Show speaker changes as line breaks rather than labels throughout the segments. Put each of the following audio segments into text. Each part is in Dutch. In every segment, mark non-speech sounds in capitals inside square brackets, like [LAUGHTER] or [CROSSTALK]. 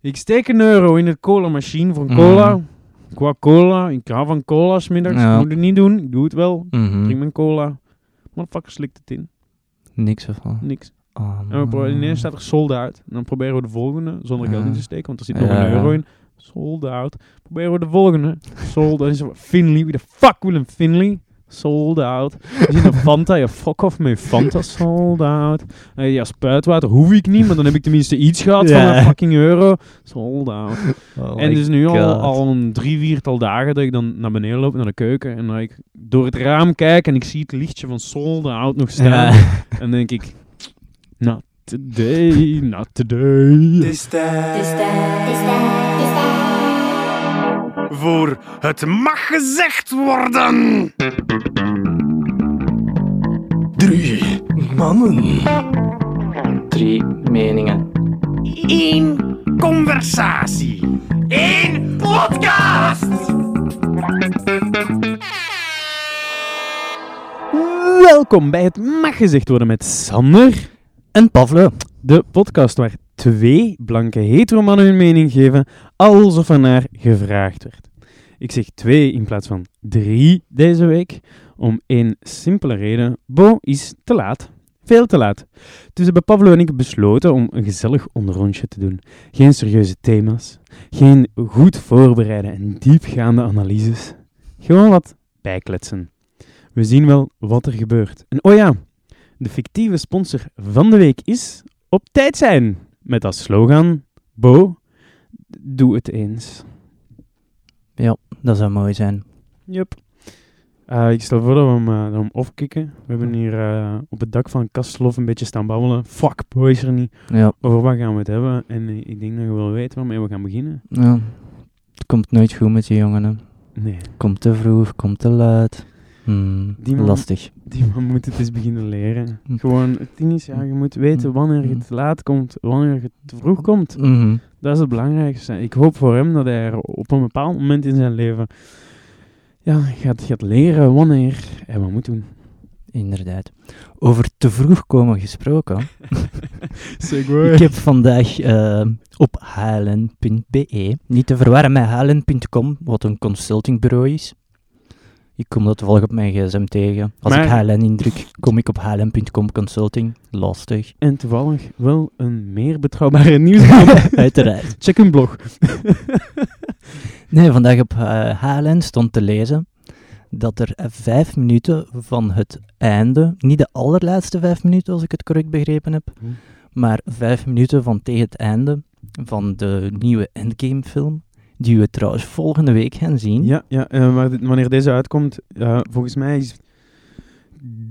Ik steek een euro in het cola machine van
Mhm.
cola. Qua cola. Ik hou van cola smiddags.
Ja.
Moet het niet doen. Ik doe het wel.
Mhm.
Ik drink mijn cola. Motherfucker slikt het in.
Niks ervan.
Niks.
Oh,
En we proberen, ineens
man.
staat er sold out. En dan proberen we de volgende zonder
Ja.
geld in te steken. Want er zit nog
Ja.
een euro in. Sold out. Proberen we de volgende. Sold out. Dan is er Finley. Wie de fuck wil een Finley? Sold out. Er
[LAUGHS]
zit een Fanta. Ja, fuck off met Fanta. Sold out. Eh, ja, spuitwater hoef ik niet. Maar dan heb ik tenminste iets gehad
Ja.
van een fucking euro. Sold out.
Oh
En
my
dus nu al,
God.
al een drie, viertal dagen dat ik dan naar beneden loop, naar de keuken. En dat ik door het raam kijk en ik zie het lichtje van Solde Out nog staan.
Ja. [LAUGHS]
En dan denk ik, not today, not today.
is Voor het mag gezegd worden. Drie mannen.
Drie meningen.
Eén conversatie. Eén podcast.
Welkom bij het Mag Gezegd Worden met Sander.
En Pavlo.
De podcast waar twee blanke heteromannen hun mening geven, alsof er naar gevraagd werd. Ik zeg twee in plaats van drie deze week, om één simpele reden. Bo is te laat. Veel te laat. Dus hebben Pablo en ik besloten om een gezellig onderrondje te doen. Geen serieuze thema's, geen goed voorbereide en diepgaande analyses. Gewoon wat bijkletsen. We zien wel wat er gebeurt. En oh ja, de fictieve sponsor van de week is op tijd zijn. Met als slogan, Bo, doe het eens.
Ja, dat zou mooi zijn.
Yep. ik stel voor dat we hem, eh, dat we hem opkicken. We hebben hier eh, op het dak van Kastelof een beetje staan babbelen. Fuck, Bo is er niet.
Ja,
Over wat gaan we het hebben? En eh, ik denk dat je wel weet waarmee we gaan beginnen.
ja. Het komt nooit goed met die jongen. Hè.
Nee,
Komt te vroeg, komt te luid. Hmm,
Die man-
Lastig.
die man moet het eens beginnen leren.
Hm.
Gewoon, het ding is, ja, je moet weten wanneer je te laat komt, wanneer je te vroeg komt.
Mhm.
Dat is het belangrijkste. Ik hoop voor hem dat hij er op een bepaald moment in zijn leven ja, gaat, gaat leren wanneer hij wat moet doen.
Inderdaad. Over te vroeg komen gesproken.
Segway.
Ik heb vandaag eh, op halen.be, niet te verwarren met halen.com, wat een consultingbureau is. Ik kom dat toevallig op mijn gsm tegen. Als
Maar-
ik halen indruk, kom ik op halen.com consulting.
[LAUGHS]
Lastig.
En toevallig wel een meer betrouwbare nieuwsbron.
Uiteraard.
Check hun blog.
Nee, vandaag op eh, HLN stond te lezen dat er eh, vijf minuten van het einde, niet de allerlaatste vijf minuten als ik het correct begrepen heb,
Hmm.
maar vijf minuten van tegen het einde van de nieuwe Endgame film, die we trouwens volgende week gaan zien.
Ja, ja eh, maar dit- wanneer deze uitkomt, ja, volgens mij is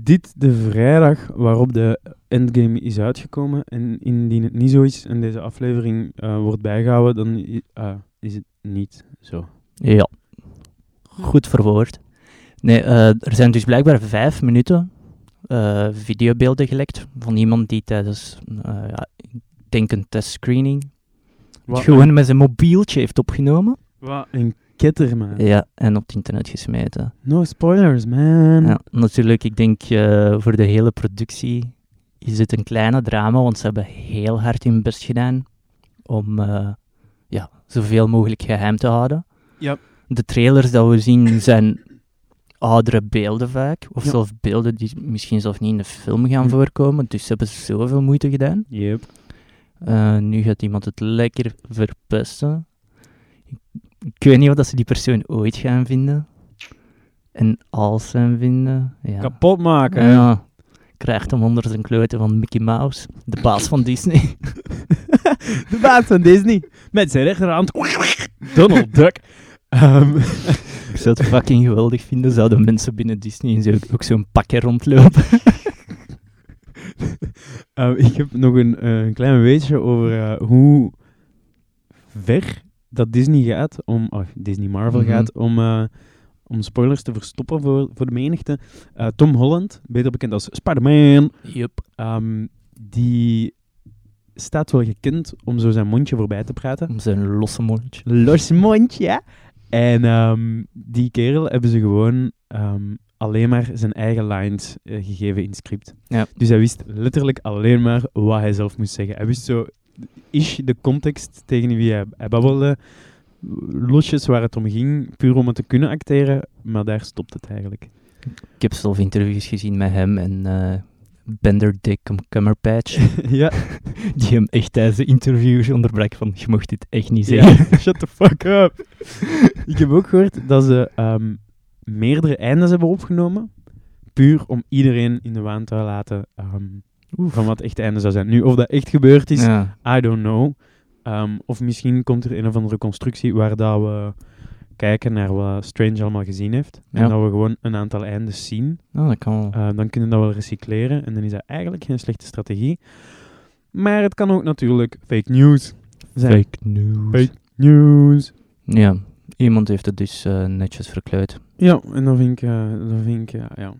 dit de vrijdag waarop de Endgame is uitgekomen. En indien het niet zo is en deze aflevering eh, wordt bijgehouden, dan i- ah, is het niet zo.
Ja. Goed verwoord. Nee, eh, er zijn dus blijkbaar vijf minuten eh, videobeelden gelekt van iemand die tijdens, eh, ja, ik denk een testscreening, het gewoon met zijn mobieltje heeft opgenomen.
Wat een ketter, man.
Ja, en op het internet gesmeten.
No spoilers, man.
Ja, natuurlijk, ik denk eh, voor de hele productie is het een kleine drama, want ze hebben heel hard hun best gedaan om eh, ja, zoveel mogelijk geheim te houden.
Ja.
De trailers dat we zien zijn oudere beelden vaak, of
Ja.
zelfs beelden die misschien zelf niet in de film gaan
Hm.
voorkomen, dus ze hebben zoveel moeite gedaan.
Yep.
Eh, nu gaat iemand het lekker verpesten. Ik weet niet of dat ze die persoon ooit gaan vinden. En als ze hem vinden, ja.
Kapot maken.
ja. Krijgt hem onder zijn kloten van Mickey Mouse, de baas van Disney.
[LAUGHS] De baas van Disney. Met zijn rechterhand. [LAUGHS] Donald Duck. [LAUGHS] Ehm,
[LAUGHS] Ik zou het fucking geweldig vinden, zouden mensen binnen Disney in zo- ook zo'n pakje rondlopen.
ehm, ik heb nog een, eh, een klein weetje over eh, hoe ver dat Disney gaat om... Oh, Disney Marvel
Mhm.
gaat om... eh, om spoilers te verstoppen voor, voor de menigte. Eh, Tom Holland, beter bekend als Spider-Man,
Yup.
ehm, die staat wel gekend om zo zijn mondje voorbij te praten.
Om zijn losse mondje.
los mondje. En ehm, die kerel hebben ze gewoon ehm, alleen maar zijn eigen lines eh, gegeven in het script.
Ja.
Dus hij wist letterlijk alleen maar wat hij zelf moest zeggen. Hij wist zo is de context tegen wie hij, hij babbelde, losjes waar het om ging, puur om het te kunnen acteren, maar daar stopt het eigenlijk. [LAUGHS]
Ik heb zelf interviews gezien met hem en eh Bender Dick Cumberbatch,
ja,
[LAUGHS] die hem echt tijdens de interviews onderbrak van, je mocht dit echt niet
ja,
zeggen.
[LAUGHS] shut the fuck up. [LAUGHS] Ik heb ook gehoord dat ze ehm, meerdere eindes hebben opgenomen, puur om iedereen in de waan te laten ehm, van wat echt einde zou zijn. Nu, of dat echt gebeurd is,
Ja.
I don't know. Ehm, of misschien komt er een of andere constructie waar dat we kijken naar wat Strange allemaal gezien heeft.
Ja.
En dat we gewoon een aantal eindes zien.
Nou, dat kan wel.
Eh, dan kunnen we dat wel recycleren. En dan is dat eigenlijk geen slechte strategie. Maar het kan ook natuurlijk fake news zijn.
Eh, Fake news.
Fake news.
Ja, iemand heeft het dus eh, netjes verkleud.
Ja, en dan vind ik... eh, dan vind ik ja, ja.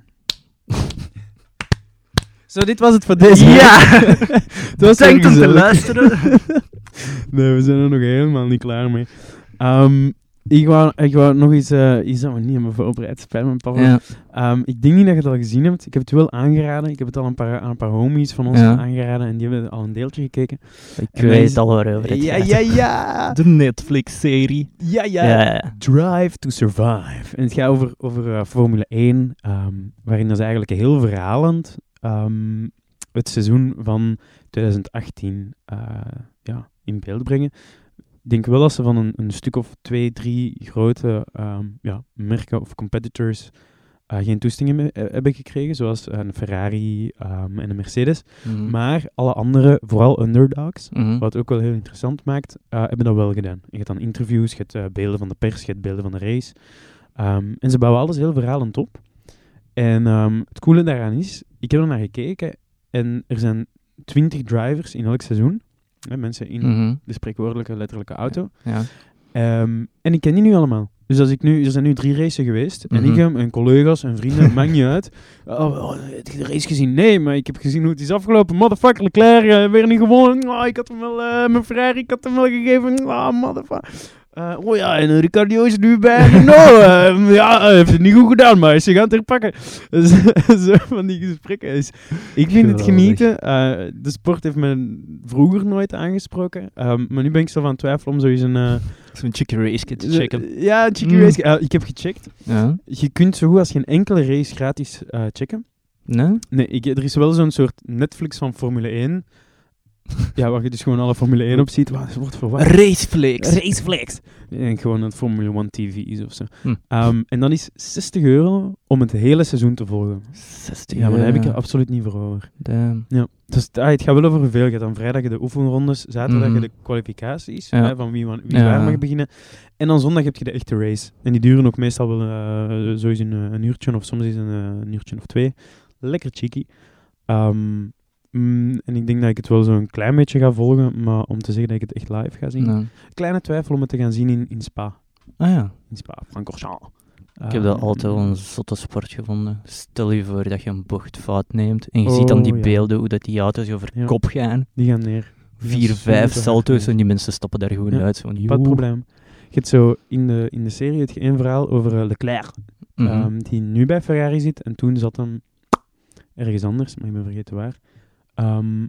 [LAUGHS] Zo, dit was het voor deze Het was
Bedankt
weer
om te
gezellig.
luisteren.
[LAUGHS] nee, we zijn er nog helemaal niet klaar mee. Ehm, ik, wou, ik wou nog iets... eh iets dat we niet hebben voorbereid. Spijt me, Pavel.
Ja,
Ehm, ik denk niet dat je het al gezien hebt. Ik heb het wel aangeraden. Ik heb het al een paar, aan een paar homies van ons
Ja.
aangeraden. En die hebben al een deeltje gekeken.
ik
En
weet
mensen-
al waarover het
Ja,
gaat.
ja, [LAUGHS] ja.
De Netflix-serie.
Ja, ja.
Ja, ja.
Drive to Survive. En het gaat over, over eh, Formule 1, ehm, waarin dat ze eigenlijk heel verhalend ehm, het seizoen van 2018 eh, ja, in beeld brengen. Ik denk wel dat ze van een, een stuk of twee, drie grote ehm, ja, merken of competitors eh, geen toestemming hebben- eh, hebben gekregen, zoals een Ferrari ehm, en een Mercedes.
Mhm.
Maar alle andere, vooral underdogs,
Mhm.
wat ook wel heel interessant maakt, eh, hebben dat wel gedaan. Je hebt dan interviews, je hebt eh, beelden van de pers, je hebt beelden van de race. Ehm, en ze bouwen alles heel verhalend op. En ehm, het coole daaraan is, ik heb er naar gekeken en er zijn 20 drivers in elk seizoen. Hè, mensen in
Mhm.
de spreekwoordelijke, letterlijke auto.
Ja.
Ehm, en ik ken die nu allemaal. Dus als ik nu, er zijn nu drie races geweest. En
Mhm.
ik hem en collega's en
[LAUGHS]
vrienden, maakt niet uit. Oh, oh, heb je de race gezien? Nee, maar ik heb gezien hoe het is afgelopen. Motherfucker, Leclerc, eh, weer niet gewonnen. Ah, ik had hem wel, eh, mijn Ferrari, ik had hem wel gegeven. Ah, motherfucker. Eh, oh ja, en eh, Ricciardo is er nu
[LAUGHS]
bij. Nou, eh, ja, hij heeft het niet goed gedaan, maar ze gaan het er pakken. [LAUGHS] Dus, zo van die gesprekken. is. ik vind het
Geweldig.
genieten. Eh, de sport heeft me vroeger nooit aangesproken. Ehm, maar nu ben ik zo van twijfel om zoiets een... eh,
Zo'n chicken race kit te
Zo-
checken.
Ja, een chicken
Mm.
race. Eh, ik heb gecheckt.
Ja.
Je kunt zo goed als geen enkele race gratis eh, checken.
Nee?
Nee, ik, er is wel zo'n soort Netflix van Formule
[LAUGHS]
1. ja, waar je dus gewoon alle Formule 1 op ziet. Waar het wordt verwarrend.
Raceflix.
Raceflex. En gewoon het Formule 1 TV is of zo.
Hm.
Ehm, en dan is 60 euro om het hele seizoen te volgen.
60
Ja, maar daar heb ik er
euro.
absoluut niet voor over.
Damn.
Ja. Dus ah, het gaat wel over veel. Je hebt dan vrijdag de oefenrondes, zaterdag
Mhm.
de kwalificaties,
Ja.
hè, van wie, wan- wie
Ja.
waar mag beginnen. En dan zondag heb je de echte race. En die duren ook meestal wel eh sowieso een, eh, een uurtje of soms is een, eh, een uurtje of twee. Lekker cheeky. Ehm, mm, en ik denk dat ik het wel zo'n klein beetje ga volgen, maar om te zeggen dat ik het echt live ga zien.
Ja.
Kleine twijfel om het te gaan zien in, in Spa.
Ah ja.
In Spa, Francorchamps.
Ik heb dat
Ehm,
altijd wel een zotte sport gevonden. Stel je voor dat je een bocht fout neemt en je
Oh,
ziet dan die
ja.
beelden hoe dat die auto's over
Ja.
kop gaan.
Die gaan neer.
Vier,
zo
vijf
te hard,
salto's
ja.
en die mensen stappen daar gewoon
Ja.
uit. Zo van,
Pas het
joe.
probleem. Je hebt zo in de, in de serie het één verhaal over eh, Leclerc,
Mhm.
ehm, die nu bij Ferrari zit en toen zat hem ergens anders, maar ik ben vergeten waar. Ehm,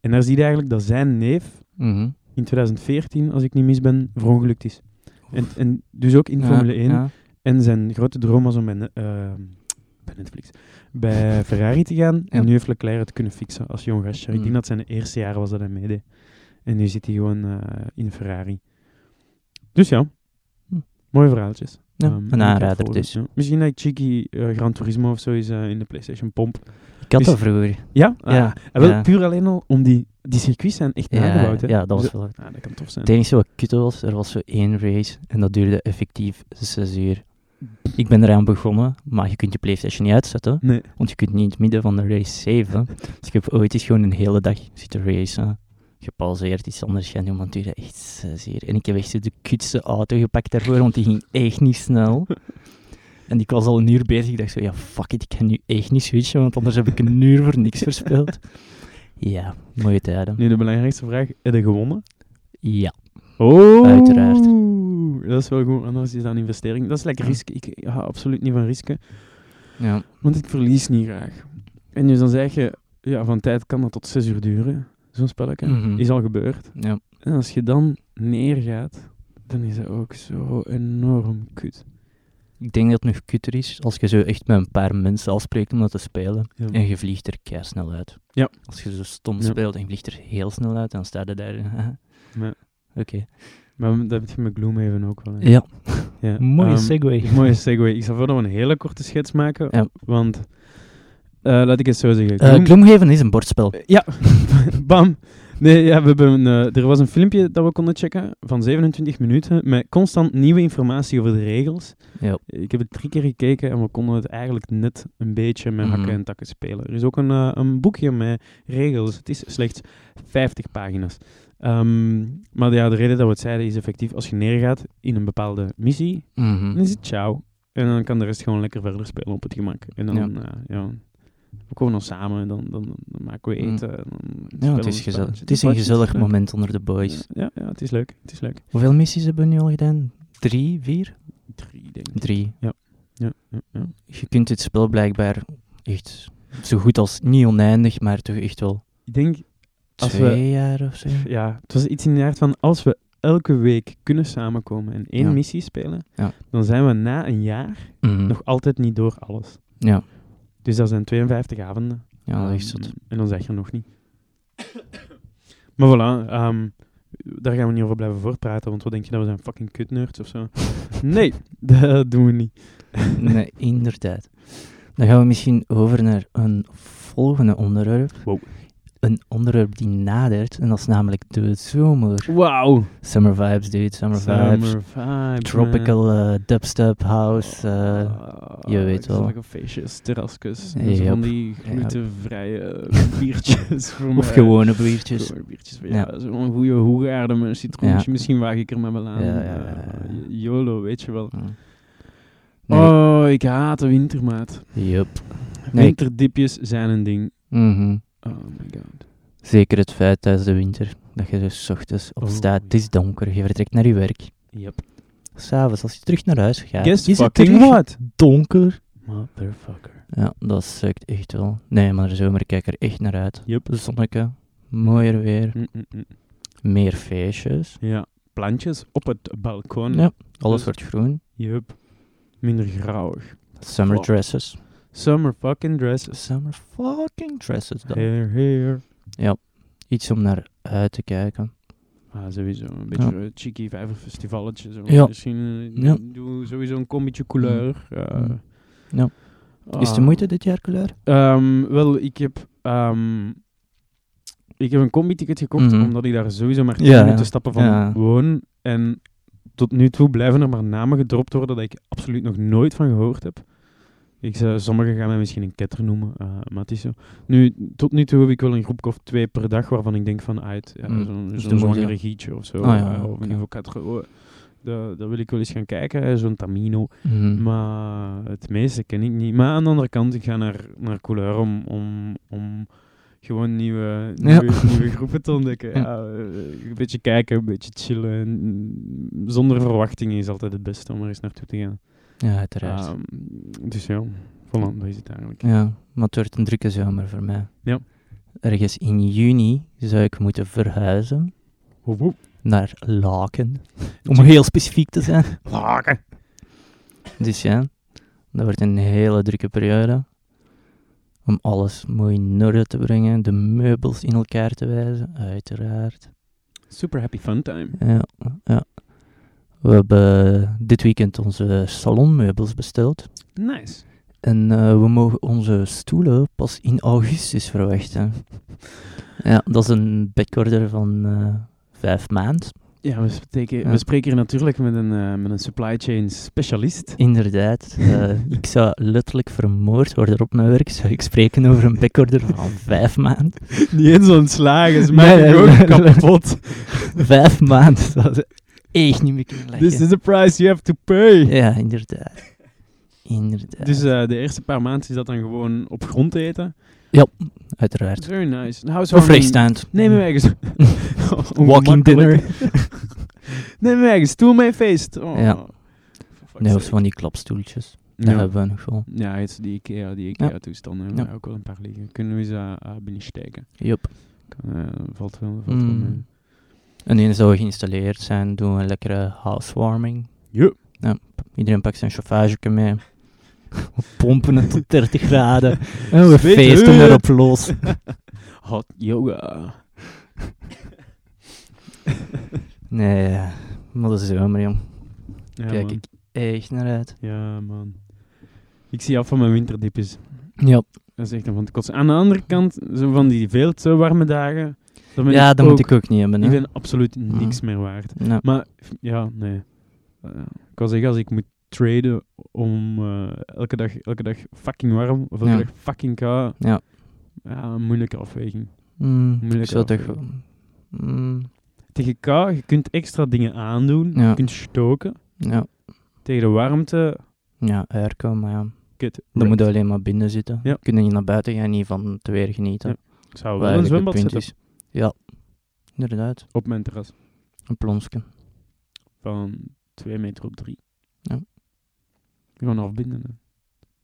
en daar zie je eigenlijk dat zijn neef
Mhm.
in 2014, als ik niet mis ben, verongelukt is. En, en dus ook in Formule 1.
Ja.
En zijn grote droom was om bij, Ne- ehm, bij Netflix,
[LAUGHS]
bij Ferrari te gaan.
Ja.
En nu heeft Leclerc het kunnen fixen als jong gastje. Ik
Mm.
denk dat het zijn eerste jaar was dat hij meedeed. En nu zit hij gewoon eh, in Ferrari. Dus ja,
Hm.
mooie verhaaltjes.
Ja,
Ehm, ik
een
ga het
aanrader
volgen,
dus.
ja. Misschien dat ik Chiki Gran Turismo of zo is eh, in de PlayStation pomp.
Ik had
Dus-
dat vroeger.
Ja? Ah,
Ja,
en wel
ja.
puur alleen al om die, die circuits zijn echt
Ja,
nagebouwd. Hè?
ja, dat
Dus-
was wel...
ah, dat kan tof zijn.
Het enige wat kutte was, er was zo één race en dat duurde effectief zes uur. Ik ben eraan begonnen, maar je kunt je Playstation niet uitzetten.
Nee.
Want je kunt niet in het midden van de race saven. Dus ik heb ooit eens gewoon een hele dag zitten racen. Gepauzeerd, iets anders gaan doen, want het duurde echt zes uur. En ik heb echt zo de kutste auto gepakt daarvoor, want die ging echt niet snel. En ik was al een uur bezig. Ik dacht zo, ja, fuck it, ik kan nu echt niet switchen, want anders heb ik een uur voor niks verspeeld. Ja, mooie tijden.
Nu de belangrijkste vraag, heb je gewonnen?
Ja.
Oh,
Uiteraard.
Dat is wel goed, anders is dat een investering. Dat is lekker
Ja.
risken. Ik hou absoluut niet van risken,
ja.
want ik verlies niet graag. En dus dan zeg je, ja, van tijd kan dat tot zes uur duren. Zo'n spelletje
Mhm.
is al gebeurd.
Ja.
En als je dan neergaat, dan is dat ook zo enorm kut.
Ik denk dat het nog kutter is als je zo echt met een paar mensen afspreekt om dat te spelen.
Ja.
En je vliegt er kei snel uit.
Ja.
Als je zo stom
Ja.
speelt en je vliegt er heel snel uit, dan staat je daar. [LAUGHS]
Ja.
Oké.
Maar dat heb je met Gloomhaven ook wel. hè.
Ja,
Ja,
mooie
ehm,
segue.
[LAUGHS] Mooie segue. Ik zal verder een hele korte schets maken,
Ja.
want eh, laat ik het zo zeggen.
Eh,
Gloom-
Gloomhaven is een bordspel.
Ja, [LAUGHS] bam. Nee, ja, we hebben een, eh, er was een filmpje dat we konden checken van 27 minuten met constant nieuwe informatie over de regels.
Ja.
Ik heb het drie keer gekeken en we konden het eigenlijk net een beetje met
Mhm.
hakken en takken spelen. Er is ook een, eh, een boekje met regels. Het is slechts 50 pagina's. Ehm, maar ja, de reden dat we het zeiden is effectief als je neergaat in een bepaalde missie,
Mhm.
dan is het ciao. En dan kan de rest gewoon lekker verder spelen op het gemak. En dan,
Ja.
eh, ja, we komen dan samen, dan, dan, dan maken we
Mm.
eten. en dan
Ja,
spelen
het
we
is, gezellig.
spelletje.
het is
Dat
een
is
gezellig
leuk.
moment onder de boys.
Ja, ja, het is leuk. Het is leuk.
Hoeveel missies hebben we nu al gedaan? Drie, vier?
Drie, denk ik.
Drie.
Ja, ja, ja.
Je kunt dit spel blijkbaar echt zo goed als niet oneindig, maar toch echt wel
Ik denk, Als
twee
we-
jaar of zo.
ja, het was iets in de aard van, als we elke week kunnen samenkomen en één
Ja.
missie spelen,
Ja.
dan zijn we na een jaar
Mhm.
nog altijd niet door alles.
Ja.
Dus dat zijn 52 avonden.
ja, dat is
Ehm,
zot.
En dan zeg je er nog niet. maar voilà, ehm, daar gaan we niet over blijven voortpraten, want wat denk je, dat we zijn fucking kutnerds of
[LAUGHS]
zo? nee, [LAUGHS] dat doen we niet.
Nee, inderdaad. Dan gaan we misschien over naar een volgende onderwerp.
Wow.
Een onderwerp die nadert, en dat is namelijk de zomer.
Wauw.
Summer vibes, dude. Summer, vibes.
Summer vibes, man.
Tropical eh, dubstep house. eh,
Ah,
je weet wel.
gezellige feestjes, terrasjes, en zo
Yep,
van die glutenvrije [LAUGHS]
[LAUGHS]
biertjes. voor
of
mij.
gewone biertjes.
Gewone biertjes. Ja,
Ja.
Zo'n goede hoegaarde met een citroentje,
Ja.
misschien waag ik er maar wel aan.
Ja, ja, ja, ja, ja.
Eh, YOLO, weet je wel.
Mm. Nee,
Oh, ik haat de wintermaat.
Yup. Nee, ik-
Winterdipjes zijn een ding.
Mhm.
Oh my god.
Zeker het feit tijdens de winter dat je dus 's ochtends opstaat,
Oh,
het is donker, je vertrekt naar je werk.
Yep.
S'avonds, als je terug naar huis gaat,
Guess
is het
fucking
terug
what?
donker.
Motherfucker.
Ja, dat sukt echt wel. Nee, maar de zomer kijk er echt naar uit.
Yep.
Zonneke, mooier weer,
Mm, mm, mm.
meer feestjes,
Ja, plantjes op het balkon.
Ja. alles
Dus-
wordt groen.
Yep. Minder grauwig.
Summer
Fuck.
dresses.
Summer fucking dresses.
Summer fucking dresses dan.
Hair, hair.
Iets om naar uit te kijken.
Ah, sowieso. Een beetje eh, cheeky vijverfestivalletje. Zo.
Ja.
Misschien eh,
Ja.
doe sowieso een kombitje couleur. eh.
Mm. Ja. Is de
Ah.
moeite dit jaar kleur?
Ehm, wel, ik heb, ehm, ik heb een combi-ticket gekocht,
Mhm.
omdat ik daar sowieso maar 10
Ja,
minuten
ja.
stappen van
Ja.
woon. En tot nu toe blijven er maar namen gedropt worden dat ik absoluut nog nooit van gehoord heb. Ik zou, sommigen gaan mij misschien een ketter noemen, eh, maar het is zo. Nu, tot nu toe heb ik wel een groepje of twee per dag waarvan ik denk van, ah, het- ja,
Mm,
zo'n
dus
zo'n
de moeite.
zwangere gietje of zo.
Ah, ja,
eh, of
oké.
een niveau 4. Oh, dat, dat wil ik wel eens gaan kijken, hè, zo'n Tamino.
Mhm.
Maar het meeste ken ik niet. Maar aan de andere kant, ik ga naar, naar Couleur om, om, om gewoon nieuwe,
Ja.
nieuwe, nieuwe groepen te ontdekken.
Ja.
Ja, eh, een beetje kijken, een beetje chillen. En Zonder verwachtingen is altijd het beste om er eens naartoe te gaan.
Ja, uiteraard.
Ehm, dus ja, voilà, dat is het eigenlijk.
Ja, maar het wordt een drukke zomer voor mij.
Ja.
Ergens in juni zou ik moeten verhuizen
Woep, woep.
naar Laken. Om heel specifiek te zijn.
Laken.
Dus ja, dat wordt een hele drukke periode. Om alles mooi in orde te brengen, de meubels in elkaar te wijzen, uiteraard.
Super happy fun time.
Ja, ja. We hebben dit weekend onze salonmeubels besteld.
Nice.
En eh, we mogen onze stoelen pas in augustus verwachten. Ja, dat is een backorder van eh, vijf maanden.
Ja, we spreken,
Ja.
we spreken hier natuurlijk met een, eh, met een supply chain specialist. [LAUGHS]
Inderdaad, eh, ik zou letterlijk vermoord worden op mijn werk. Zou ik spreken over een backorder van vijf maanden?
Niet eens ontslagen, ze
Nee,
maken
nee,
ook
nee.
kapot.
[LAUGHS] Vijf maanden, dat is echt niet meer kunnen lachen.
This is the price you have to pay.
Ah, Ja, inderdaad. Inderdaad.
Dus eh, de eerste paar maanden is dat dan gewoon op grond eten.
Uiteraard.
Very nice. Een
Of Mm.
housewarming.
rechtstaand.
Neem hem ergens. [LAUGHS]
[LAUGHS] Walking
Ongemakkelijk. [LAUGHS]
dinner.
Neem hem ergens. Doe mee feest. Oh.
Ja.
For fuck's
Nee, of
sake.
zo van die klapstoeltjes. Dat
Ja.
hebben we nog wel.
ja, het is die IKEA, die
Ja.
IKEA-toestanden.
Ja.
hebben we ook wel een paar liggen. Kunnen we ze eh, eh, binnensteken?
Yup.
Eh, valt wel, valt wel mee.
Mm. En die zou geïnstalleerd zijn, doen we een lekkere housewarming.
Ja.
Iedereen pakt zijn chauffage mee. [LAUGHS] We pompen het tot 30 graden.
[LAUGHS]
En we
Zweet
feesten
hut.
erop los.
Hot yoga.
Nee, maar dat is zomer, jong.
Ja,
Kijk
man.
ik echt naar uit.
Ja, man. Ik zie af van mijn winterdipjes.
Ja,
Dat is echt een van de kotsen. Aan de andere kant, zo van die veel te warme dagen. Dan ben
ja
ik
dat
ook,
moet ik ook niet hebben. Hè.
Ik ben absoluut
Mhm.
niks meer waard.
Ja.
Maar f- ja, nee. Eh, ik kan zeggen, als ik moet traden om eh, elke, dag, elke dag fucking warm of elke
Ja.
dag fucking koud.
Ja.
Ja, een moeilijke afweging.
Mm,
Moeilijk
ik zou toch...
afwegen.
Mm,
Tegen kou, je kunt extra dingen aandoen.
Ja.
Je kunt stoken.
ja.
Tegen de warmte,
ja, airco, maar ja.
kut.
Dan moet je alleen maar binnen zitten.
Ja.
Kun je niet naar buiten gaan, niet van het weer genieten.
Ja, Ik zou
Wat
wel een
eigenlijk het
zwembad
punt
zetten
is. Ja, inderdaad.
op mijn terras.
Een plonsje. [LAUGHS]
Van 2 meter op 3.
Ja.
Gewoon afbinden. hè.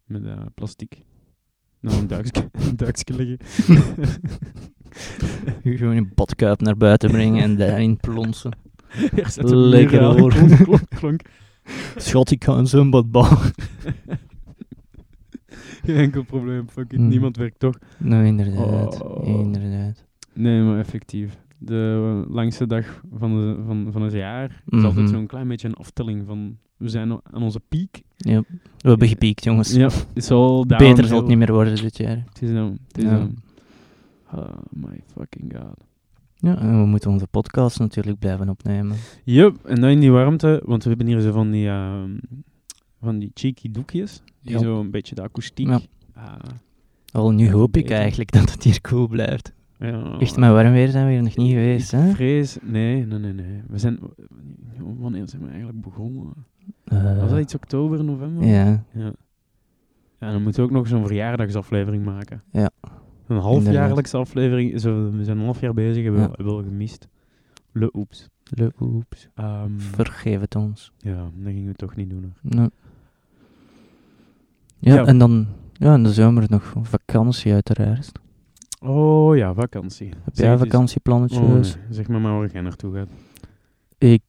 Met eh, plastic. Nou, een
[LAUGHS]
duikje, een duikje leggen.
Gewoon een badkuip naar buiten brengen en daarin
[LAUGHS]
plonsen.
Er zat een muur
Lekker
aan.
hoor.
Klonk, klonk, klonk. [LAUGHS]
Schat, ik ga een zwembad bouwen.
Geen enkel probleem. Fuck it.
Mm.
Niemand werkt toch.
Nou, inderdaad.
Oh.
Inderdaad.
Nee, maar effectief. De eh, langste dag van, de, van, van het jaar is altijd
Mhm.
zo'n klein beetje een aftelling van... We zijn o- aan onze piek.
Ja. We hebben gepiekt, jongens.
Ja, het is al
Beter zal
downhill.
het niet meer worden dit jaar.
Het is dan... Het is
Ja.
dan. Oh my fucking god.
Ja, en we moeten onze podcast natuurlijk blijven opnemen.
Yup, en dan in die warmte, want we hebben hier zo van die, ehm, van die cheeky doekjes, die
Ja.
zo een beetje de akoestiek.
Ja.
Ah,
Al nu
Ja,
hoop ik
beter.
eigenlijk dat het hier cool blijft.
ja.
Echt, maar warm weer zijn we hier nog niet geweest,
Ik
hè?
Vrees, nee, nee, nee, nee. We zijn, wanneer zijn we eigenlijk begonnen?
Eh,
Was dat iets oktober, november?
Ja,
Ja. Ja, dan moeten we ook nog zo'n verjaardagsaflevering maken.
Ja.
Een halfjaarlijkse aflevering, zo, we zijn een half jaar bezig, hebben
Ja.
we wel gemist. Le oeps.
leuk. Oeps.
Ehm,
Vergeef het ons.
ja, dat gingen we toch niet doen. hoor.
Nou. Ja,
Ja.
en dan ja, in de zomer nog vakantie uiteraard.
Oh ja, vakantie.
Heb
Zeg
jij
het eens.
vakantieplannetjes?
Oh, nee. Zeg maar maar waar jij naartoe gaat.
Ik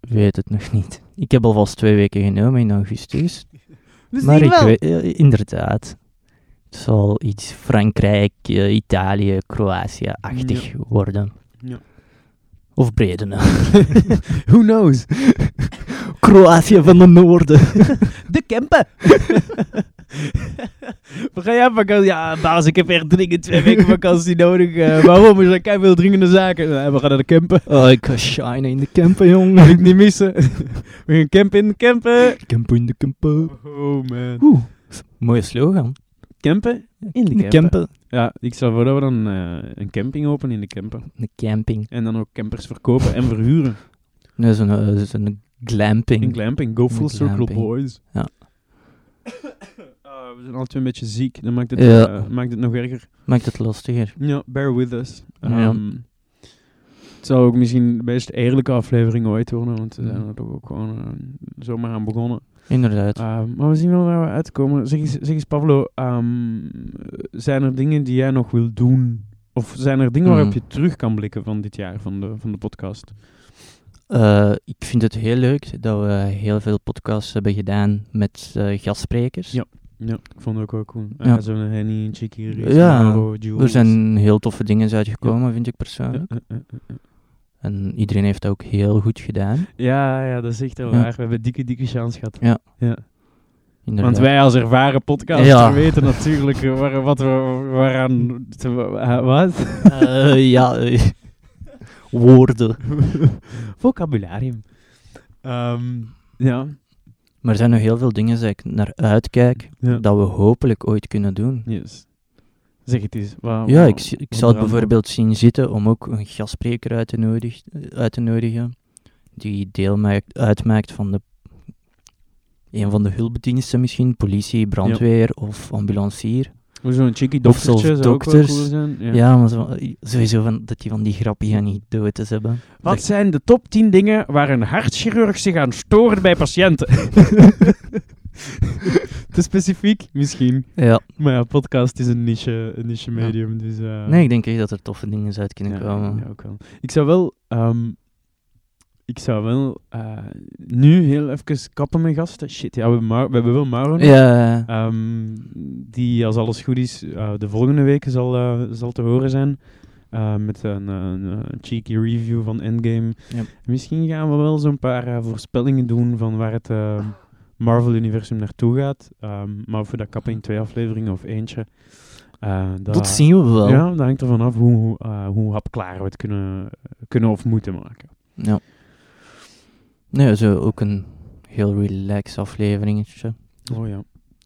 weet het nog niet. Ik heb alvast twee weken genomen in [LAUGHS] augustus. maar ik weet, ja, inderdaad. Het zal iets Frankrijk, eh, Italië, Kroatië-achtig worden.
Ja.
Of [LAUGHS] Bredene.
Who
[LAUGHS]
knows?
Kroatië van de [LAUGHS] Noorden.
De Kempen! [LAUGHS] We gaan jij op vakantie? Ja, baas, ik heb echt dringend twee weken vakantie nodig. [LAUGHS] Eh, waarom? Er zijn keiveel dringende zaken. Eh, we gaan naar de [LAUGHS] Kempen.
Oh, ik ga shine in de Kempen, [LAUGHS]
Wil
jongen.
ik niet missen. [LAUGHS] we gaan campen in de Kempen.
Kempen in de Kempen.
Oh man.
Oeh, mooie slogan.
Kempen?
In de
Kempen.
Kempen.
Ja, ik stel voor dat we dan eh, een camping openen in de Kempen.
De camping.
En dan ook campers verkopen en verhuren.
Nee, zo'n eh, zo'n glamping.
In glamping. Go full
Een
circle,
glamping.
boys.
Ja.
Ah, we zijn alle twee een beetje ziek. Dat maakt het,
Ja.
eh, maakt het nog erger.
Maakt het lastiger.
Ja, bear with us.
Ja.
Ehm, het zou ook misschien de best eerlijke aflevering ooit worden, want we zijn
Mhm.
er toch ook gewoon eh, zomaar aan begonnen.
Inderdaad.
Ehm, maar we zien wel waar we uitkomen. Zeg eens, zeg eens Pablo, ehm, zijn er dingen die jij nog wilt doen? Of zijn er dingen waarop
Mhm.
je terug kan blikken van dit jaar, van de, van de podcast?
Eh, ik vind het heel leuk dat we heel veel podcasts hebben gedaan met eh, gastsprekers.
Ja. Ja, ik vond het ook wel cool.
Ja.
Ah, Zo'n Henny, Chicky, Reese,
Ja,
Maro, Jules.
Er zijn heel toffe dingen uitgekomen, vind ik persoonlijk.
Eh, eh, eh, eh.
En iedereen heeft dat ook heel goed gedaan.
Ja, ja, dat is echt heel
Ja.
waar. We hebben dikke, dikke chance gehad.
Ja.
ja.
Inderdaad.
Want wij als ervaren podcasters
Ja.
weten natuurlijk eh, waar, wat we waaraan... te- wa-
[LAUGHS]
wat?
Eh, ja, eh, [LAUGHS] woorden.
Vocabularium. Ehm, ja.
Maar er zijn nog heel veel dingen waar ik naar uitkijk,
ja.
dat we hopelijk ooit kunnen doen.
Yes. Zeg het eens. wa-
Ja,
wa-
ik, zie- ik
wat
zou het
eraan-
bijvoorbeeld zien zitten om ook een gastspreker uit te, nodig, uit te nodigen, die deel maakt, uitmaakt van de, een van de hulpdiensten misschien, politie, brandweer of ambulancier.
Hoe Zo'n cheeky doktertje
zelfs
zou ook wel
dokters.
cool zijn.
Ja,
Ja.
maar zo- sowieso van, dat die van die grappige niet dood is hebben.
Wat [LAUGHS] zijn de top 10 dingen waar een hartchirurg zich aan stoort bij patiënten? Te specifiek misschien.
Ja.
Maar ja, podcast is een niche, een niche medium. Dus, eh,
Nee, ik denk echt dat er toffe dingen uit kunnen
ja,
komen.
ja, ook wel. Ik zou wel, ehm, ik zou wel eh, nu heel even kappen met gasten. Shit, ja, we, hebben Mau- we hebben wel Mauro. nog.
Ja,
Ehm, die, als alles goed is, eh, de volgende week zal, eh, zal te horen zijn. Eh, met een, eh, een, eh, cheeky review van Endgame.
Ja.
Misschien gaan we wel zo'n paar eh, voorspellingen doen van waar het eh, Marvel-universum naartoe gaat. Ehm, maar of we dat kappen in twee afleveringen of eentje. eh, dat,
dat zien we wel.
Ja, dat hangt ervan af hoe, hoe, eh, hoe hapklaar we het kunnen, kunnen of moeten maken.
Ja. Nee, zo ook een heel relaxed afleveringetje.
Oh ja.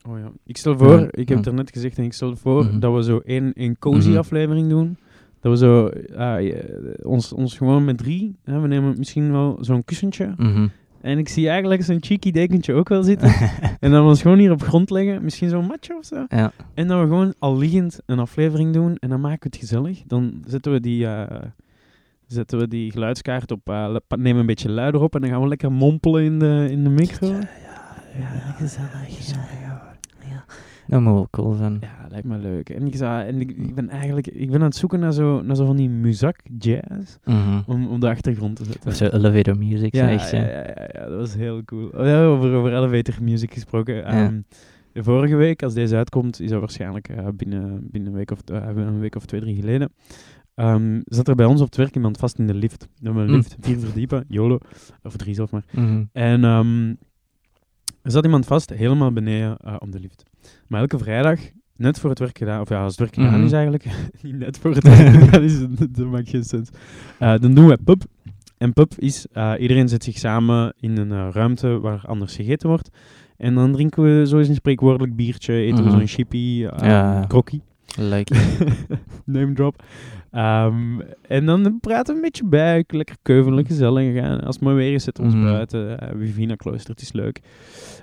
Oh ja. Ik stel voor,
Ja,
ik heb het
ja.
er net gezegd en ik stel voor
Mhm.
dat we zo één, één cozy
Mhm.
aflevering doen. Dat we zo, ah, je- ons, ons gewoon met drie, hè, we nemen misschien wel zo'n kussentje.
Mhm.
En ik zie eigenlijk zo'n cheeky dekentje ook wel
[LAUGHS]
zitten. en dan we ons gewoon hier op grond leggen, misschien zo'n matje of zo.
Ja.
En dat we gewoon al liggend een aflevering doen en dan maken we het gezellig. Dan zetten we die, eh, zetten we die geluidskaart op, eh, le- pa- nemen een beetje luider op en dan gaan we lekker mompelen in de, in de micro.
Ja, gezellig. Ja, Dat moet wel cool zijn.
Ja, lijkt me leuk. En ik, zou, en ik, ik ben eigenlijk ik ben aan het zoeken naar zo, naar zo van die muzak jazz
Mhm.
om, om de achtergrond te zetten.
Of zo elevator music,
ja,
zo
ja,
echt. zo.
ja, ja, ja, dat was heel cool. Oh, ja, over, over elevator music gesproken. Ehm, de vorige week, als deze uitkomt, is dat waarschijnlijk eh, binnen, binnen een, week of, eh, een week of twee, drie geleden. Ehm, zat er bij ons op het werk iemand vast in de lift. We hebben een
Mm.
lift, vier verdiepen, YOLO. Of drie zelf maar.
Mhm.
En ehm, er zat iemand vast, helemaal beneden eh, op de lift. Maar elke vrijdag, net voor het werk gedaan, of ja, als het werk gedaan
Mhm.
is eigenlijk, [LAUGHS] niet net voor het werk gedaan is, [LAUGHS] dat dat maakt geen sens. Eh, dan doen we pub. En pub is, eh, iedereen zet zich samen in een eh, ruimte waar anders gegeten wordt. En dan drinken we zo eens een spreekwoordelijk biertje, eten we
Mhm.
zo'n chippy, eh
Ja.
krokkie. [LAUGHS]
Like.
Name drop. Ehm, en dan praten we een beetje bij, lekker keuvelen, gezellig. En als het mooi weer is, zitten we ons
Mhm.
buiten. Eh, Vivina Klooster, het is leuk.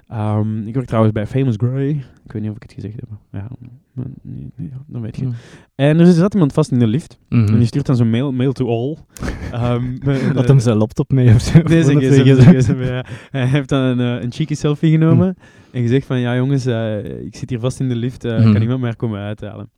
Ehm, ik werk trouwens bij Famous Grey. Ik weet niet of ik het gezegd heb. maar Ja, maar nee, nee, ja, dan weet
Mm.
je. het. En dus er zat iemand vast in de lift.
Mhm.
En die stuurt dan zo'n mail, mail to all. Ehm, met een,
Had
eh,
hem zijn laptop mee
[LAUGHS]
of [LAUGHS] zo.
Nee,
Of
zijn
een
gsm,
gsm.
zijn gsm, ja. Hij heeft dan een, eh, een cheeky selfie genomen en gezegd van, ja jongens, eh, ik zit hier vast in de lift, eh,
Hmm.
kan iemand mij komen uithalen?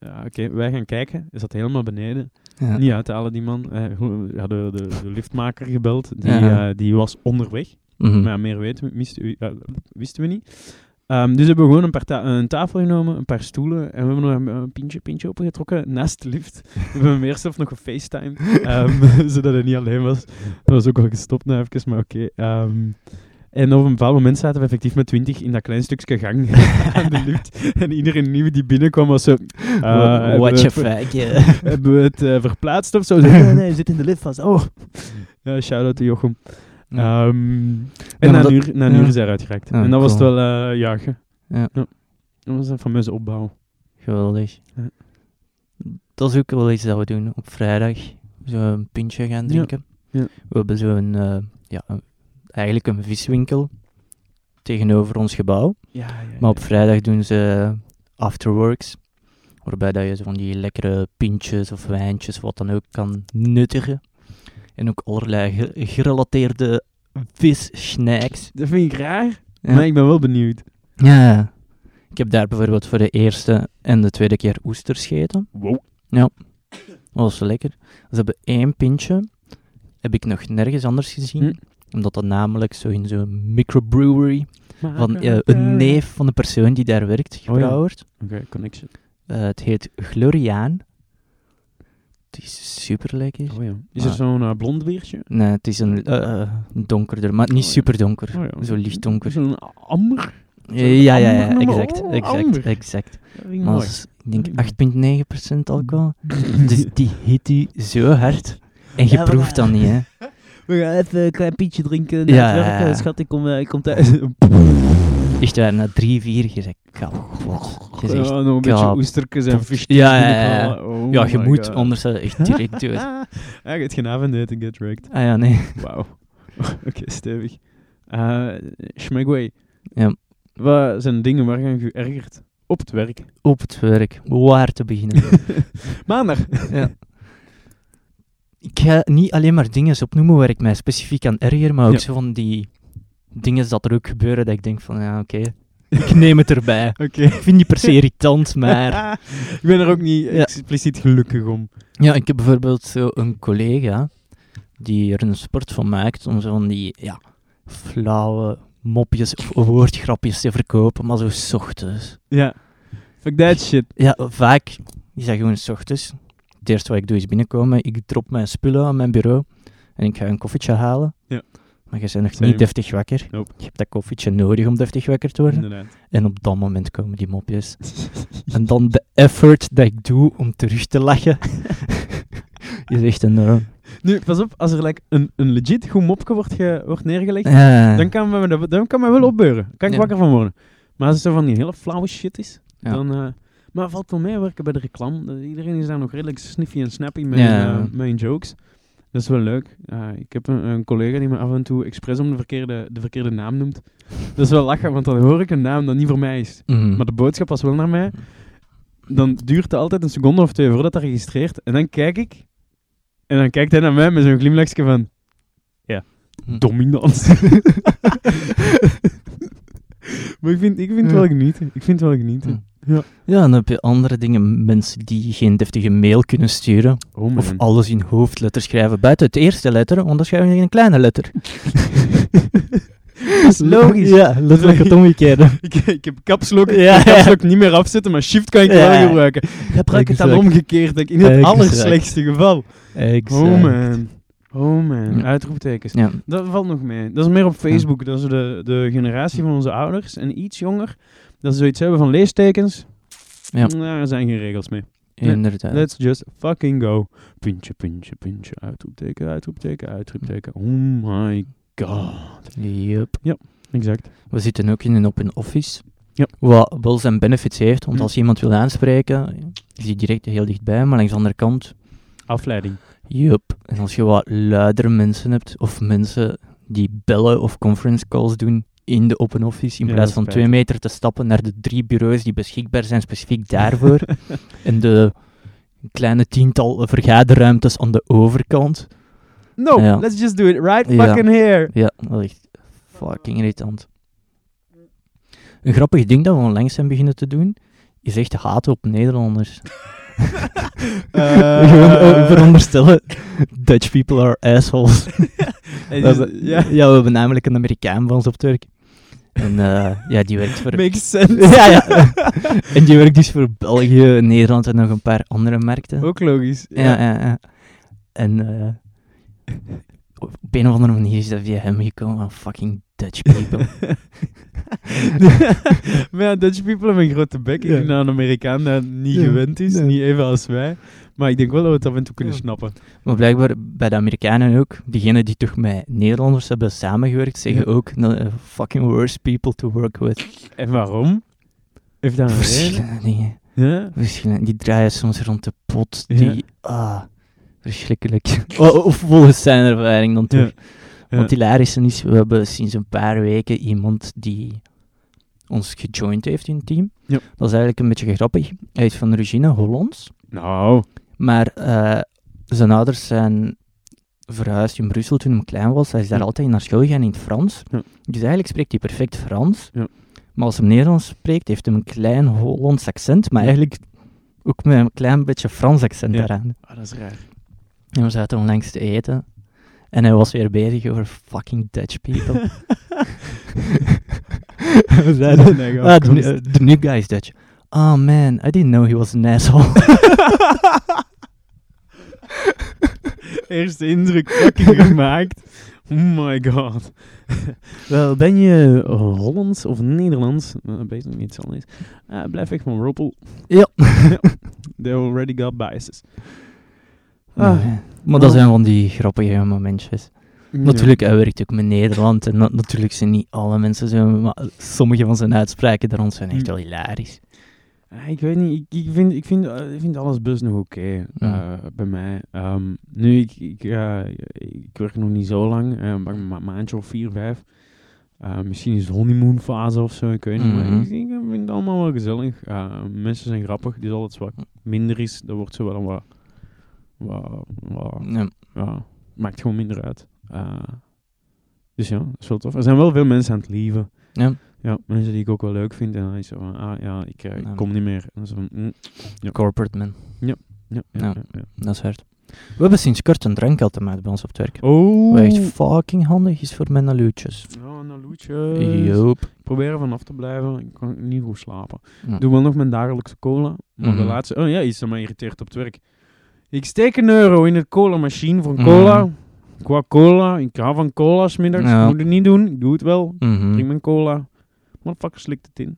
Ja, Oké, wij gaan kijken. Is dat helemaal beneden?
Ja.
Niet uithalen, die man. Eh, hoe- we hadden de, de liftmaker gebeld, die,
Ja.
eh, die was onderweg.
Mhm.
Maar ja, meer weten, we- misten we- eh, wisten we niet. Ehm, dus hebben we gewoon een, paar ta- een tafel genomen, een paar stoelen. En we hebben nog een, een pintje, pintje opengetrokken naast de lift. [LAUGHS] we hebben hem eerst zelf nog gefacetimed, ehm, [LAUGHS] zodat hij niet alleen was. Dat was ook wel gestopt na even, maar oké. ehm, en op een bepaald moment zaten we effectief met twintig in dat klein stukje gang [LAUGHS] aan de lift. En iedereen nieuw die binnenkwam was zo... eh, hebben
What
we-
you fuck, yeah.
[LAUGHS] hebben we het eh, verplaatst [LAUGHS] of zo? Nee, nee, nee, je zit in de lift vast. Oh. Ja, shout-out to Jochem.
Ja.
Ehm,
Ja,
en na
maar
een
dat-
uur, na een
ja.
uur is hij eruit geraakt.
Ja,
en dat was het
cool.
wel eh jagen.
Ja.
Dat was een fameuze opbouw.
Geweldig.
Ja.
Dat is ook wel iets dat we doen op vrijdag. Zo een pintje gaan drinken.
Ja.
We hebben zo'n, eh, ja, een- eigenlijk een viswinkel tegenover ons gebouw.
Ja, ja, ja.
Maar op vrijdag doen ze afterworks. Waarbij dat je zo van die lekkere pintjes of wijntjes, wat dan ook, kan nuttigen. En ook allerlei ge- gerelateerde vissnacks.
Dat vind ik raar,
Ja.
maar ik ben wel benieuwd.
Ja. Ik heb daar bijvoorbeeld voor de eerste en de tweede keer oesters gegeten.
Wow.
Dat was wel lekker. Ze hebben één pintje. Heb ik nog nergens anders gezien.
Hm.
Omdat dat namelijk zo in zo'n microbrewery
Maar-
van eh, een neef van de persoon die daar
Ah,
werkt
Oh ja.
gebrouwd wordt.
Oké, connection.
Eh, het heet Gloriaan. Het is super lekker.
Oh, ja. Is
Maar-
er zo'n eh, blond biertje?
Nee, het is een eh, eh, donkerder, maar niet
Oh ja.
super donker.
Oh, ja.
Zo licht donker.
Zo'n amber? zo'n
ja, ja, ja,
amber-
exact.
oh,
Exact,
amber.
exact.
Dat vind ik
Maar
mooi. Mm.
als- ik
Mooi.
denk
[LAUGHS]
8,9% alcohol. dus die hit die zo hard. En je
Ja, maar-
proeft dat niet, hè.
We gaan even een klein pietje drinken.
na Ja, het werk. ja, ja.
eh, Schat, ik kom, ik kom
[LAUGHS]
thuis.
Echt waar, na drie, vier, je zegt kap. Je zegt,
ja, nog een beetje
kaap.
oesterkes en visjes
Ja, ja, ja, ja.
binnenhalen. Oh
ja, je
my
moet,
God.
anders zou je echt
[LAUGHS]
direct dood.
ja, je hebt geen avondeten, get wrecked.
Ah ja, nee.
Wauw. [LAUGHS] Oké, stevig. Eh Schmegway.
Ja.
Wat zijn dingen waar je aan geërgerd? Op het werk.
Op het werk, waar te beginnen. [LAUGHS]
Maandag.
ik ga niet alleen maar dingen opnoemen waar ik mij specifiek aan erger, maar ook
Ja.
zo van die dingen dat er ook gebeuren dat ik denk van, ja, oké, [LAUGHS] ik neem het erbij.
Oké.
Ik vind die per
[LAUGHS]
[LAUGHS] se irritant, maar...
ik ben er ook niet
Ja.
expliciet gelukkig om.
Ja, ik heb bijvoorbeeld zo een collega die er een sport van maakt om zo van die ja, flauwe mopjes of woordgrapjes te verkopen, maar zo 's ochtends.
Ja. Fuck that shit.
Ja, vaak is dat gewoon 's ochtends. Het eerste wat ik doe is binnenkomen, ik drop mijn spullen aan mijn bureau en ik ga een koffietje halen.
Ja.
Maar je bent nog
Same.
niet deftig wakker.
Nope.
Je hebt dat koffietje nodig om deftig wakker te worden.
Inderdaad. [LAUGHS]
En op dat moment komen die mopjes. en dan de effort dat ik doe om terug te lachen, [LAUGHS] is echt enorm.
Nu, pas op, als er like, een, een legit goed mopje wordt, ge- wordt neergelegd,
Ja.
dan, kan me, dat- dan kan mij wel opbeuren. Kan ik
Eh. Ja.
wakker van worden. Maar als het zo van die hele flauwe shit is,
Ja.
dan... eh, maar valt wel mee werken bij de reclame. Eh, Iedereen is daar nog redelijk sniffy en snappy met
Ja.
eh, met hun jokes. Dat is wel leuk. Eh, ik heb een, een collega die me af en toe expres om de verkeerde, de verkeerde naam noemt. Dat is wel lachen, want dan hoor ik een naam dat niet voor mij is.
Mhm.
maar de boodschap was wel naar mij. Dan duurt het altijd een seconde of twee voordat dat registreert. En dan kijk ik. En dan kijkt hij naar mij met zo'n glimlachje van... Ja,
Hm.
dominant. [LAUGHS] maar ik vind, ik vind het wel genieten. Ik vind het wel genieten.
Mhm. Ja, dan heb je andere dingen. Mensen die geen deftige mail kunnen sturen.
Oh man.
Of alles in hoofdletters schrijven. Buiten het eerste letter, want dan schrijven ze in een kleine letter.
[LAUGHS] dat is logisch.
Ja, letterlijk
[LAUGHS]
het omgekeerde.
[LAUGHS] Ik, ik heb kapslok,
Ja.
ik kan kapslok niet meer afzetten, maar shift kan ik wel
Ja.
gebruiken. Gebruik het dan
Exact.
omgekeerd, denk ik. In het
Exact.
allerslechtste geval.
Exact.
Oh man. Oh man.
Ja.
Uitroeptekens.
Ja.
Dat valt nog mee. Dat is meer op Facebook. Dat is de, de generatie van onze ouders en iets jonger. Dat ze zoiets hebben van leestekens.
Ja.
Daar zijn geen regels mee.
Inderdaad.
Let's just fucking go. Puntje, puntje, puntje. Uitroepteken, uitroepteken, uitroepteken. Oh my god.
Yep.
Exact.
We zitten ook in een open office.
Ja.
Wat wel zijn benefits heeft, want
Hm.
als je iemand wil aanspreken, is hij direct heel dichtbij, maar langs de andere kant
Afleiding.
Yup. En als je wat luidere mensen hebt, of mensen die bellen of conference calls doen in de open office,
Ja,
in
dat
plaats
is
van
spijtig.
twee meter te stappen naar de drie bureaus die beschikbaar zijn
[LAUGHS]
specifiek daarvoor, en de kleine tiental vergaderruimtes aan de overkant.
No,
Ja.
let's just do it right
Ja.
fucking
[LAUGHS]
here.
Ja, dat is echt fucking irritant. Een grappig ding dat we onlangs zijn beginnen te doen, is echt haten op Nederlanders. [LAUGHS]
Eh,
Gewoon eh, veronderstellen, Dutch people are assholes.
eh,
We
just-
hebben- ja.
[LAUGHS] Ja,
we hebben namelijk een Amerikaan bij ons op Turk. En
[LAUGHS]
eh, ja, die werkt voor...
makes sense.
[LAUGHS]
[LAUGHS]
ja, ja. en die werkt dus voor België, Nederland en nog een paar andere markten.
Ook logisch.
Ja, ja, ja. En eh, op een of andere manier is dat via hem gekomen van fucking Dutch
[LAUGHS]
people.
maar ja, Dutch people hebben een grote bek. Ik
Ja.
denk dat een Amerikaan dat niet
Ja.
gewend is.
Nee.
Niet even als wij. Maar ik denk wel dat we het af en toe kunnen
Ja.
snappen.
maar blijkbaar bij de Amerikanen ook, diegenen die toch met Nederlanders hebben samengewerkt, zeggen
Ja.
ook eh, fucking worst people to work with.
En waarom? Heeft daar een reden?
Verschillende dingen.
Ja?
Verschillende- die draaien soms rond de pot.
Ja.
Die, ah, verschrikkelijk. [LAUGHS] O- of volgens zijn ervaring dan
Ja.
toch.
Ja.
Want hilarisch is, we hebben sinds een paar weken iemand die ons gejoind heeft in het team.
Ja.
Dat is eigenlijk een beetje grappig. Hij is van origine Hollands,
Nou,
maar eh, zijn ouders zijn verhuisd in Brussel toen hij klein was. Hij is daar
Ja.
altijd naar school gegaan in het Frans.
Ja.
Dus eigenlijk spreekt hij perfect Frans.
Ja.
Maar als hij Nederlands spreekt, heeft hij een klein Hollands accent, maar
Ja.
eigenlijk ook met een klein beetje Frans accent
Ja.
daaraan.
ah, dat is [LAUGHS] raar.
En we zaten onlangs te eten. En hij was weer bezig over fucking
[LAUGHS]
Dutch people. we zeiden,
Nee, ga
ah,
op,
the,
kom.
new- the new guy is Dutch. Oh man, I didn't know he was an
Ah.
asshole.
[LAUGHS] Eerste indruk fucking gemaakt. Oh my god. Wel, ben je Hollands of Nederlands? Nou, Dat weet ik nog niet, zal niet. Ah, blijf weg van Roppel.
Ja.
[LAUGHS] They already got biases. Ah.
Nee. Maar dat zijn van die grappige momentjes. Natuurlijk, hij werkt ook met Nederland. En na- natuurlijk zijn niet alle mensen zo, maar sommige van zijn uitspraken daar rond zijn echt
Hm.
wel hilarisch.
Ah, Ik weet niet, ik, ik, vind, ik, vind, eh, ik vind alles best nog oké eh, bij mij. Ehm, nu, ik, ik, eh, ik werk nog niet zo lang, eh, maar een ma- maandje of vier, vijf. Eh, misschien is het honeymoonfase of zo, ik weet niet.
Mhm.
Maar ik, ik vind het allemaal wel gezellig. Eh, mensen zijn grappig, dus altijd wat minder is, dat wordt zo wel een wat... wat, wat
Ja.
ja, maakt gewoon minder uit. Eh, Dus ja, dat is wel tof. Er zijn wel veel mensen aan het lieven.
Ja.
Ja, mensen die ik ook wel leuk vind. En dan is zo van, ah ja, ik, eh, ik
Ja.
kom niet meer. En dan zo van, mm, Ja.
Corporate man,
ja, ja,
Ja.
ja, ja.
dat is hard. We hebben sinds kort een drankautomaat bij ons op het werk.
Oh!
Wat echt fucking handig is voor mijn naluutjes.
Ja, een loetje.
Joop.
Ik probeer er vanaf te blijven. Ik kan niet goed slapen.
Ja.
Ik doe wel nog mijn dagelijkse cola. Maar
Mhm.
de laatste... Oh ja, iets dat me irriteert op het werk. Ik steek een euro in het cola-machine voor cola.
Mhm.
Qua cola. Ik hou van cola's middags.
Ja.
Ik moet het niet doen. Ik doe het wel.
Mhm.
Drink mijn cola. Motherfucker slikt het in.